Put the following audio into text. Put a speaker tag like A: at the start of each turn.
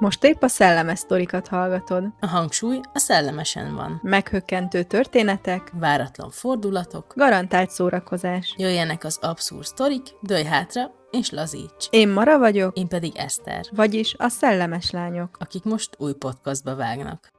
A: Most épp a szellemes sztorikat hallgatod.
B: A hangsúly a szellemesen van.
A: Meghökkentő történetek,
B: Váratlan fordulatok,
A: garantált szórakozás.
B: jöjjenek az abszurd sztorik, dőj hátra és lazíts.
A: Én Mara vagyok,
B: Én pedig Eszter,
A: vagyis a szellemes lányok.
B: akik most új podcastba vágnak.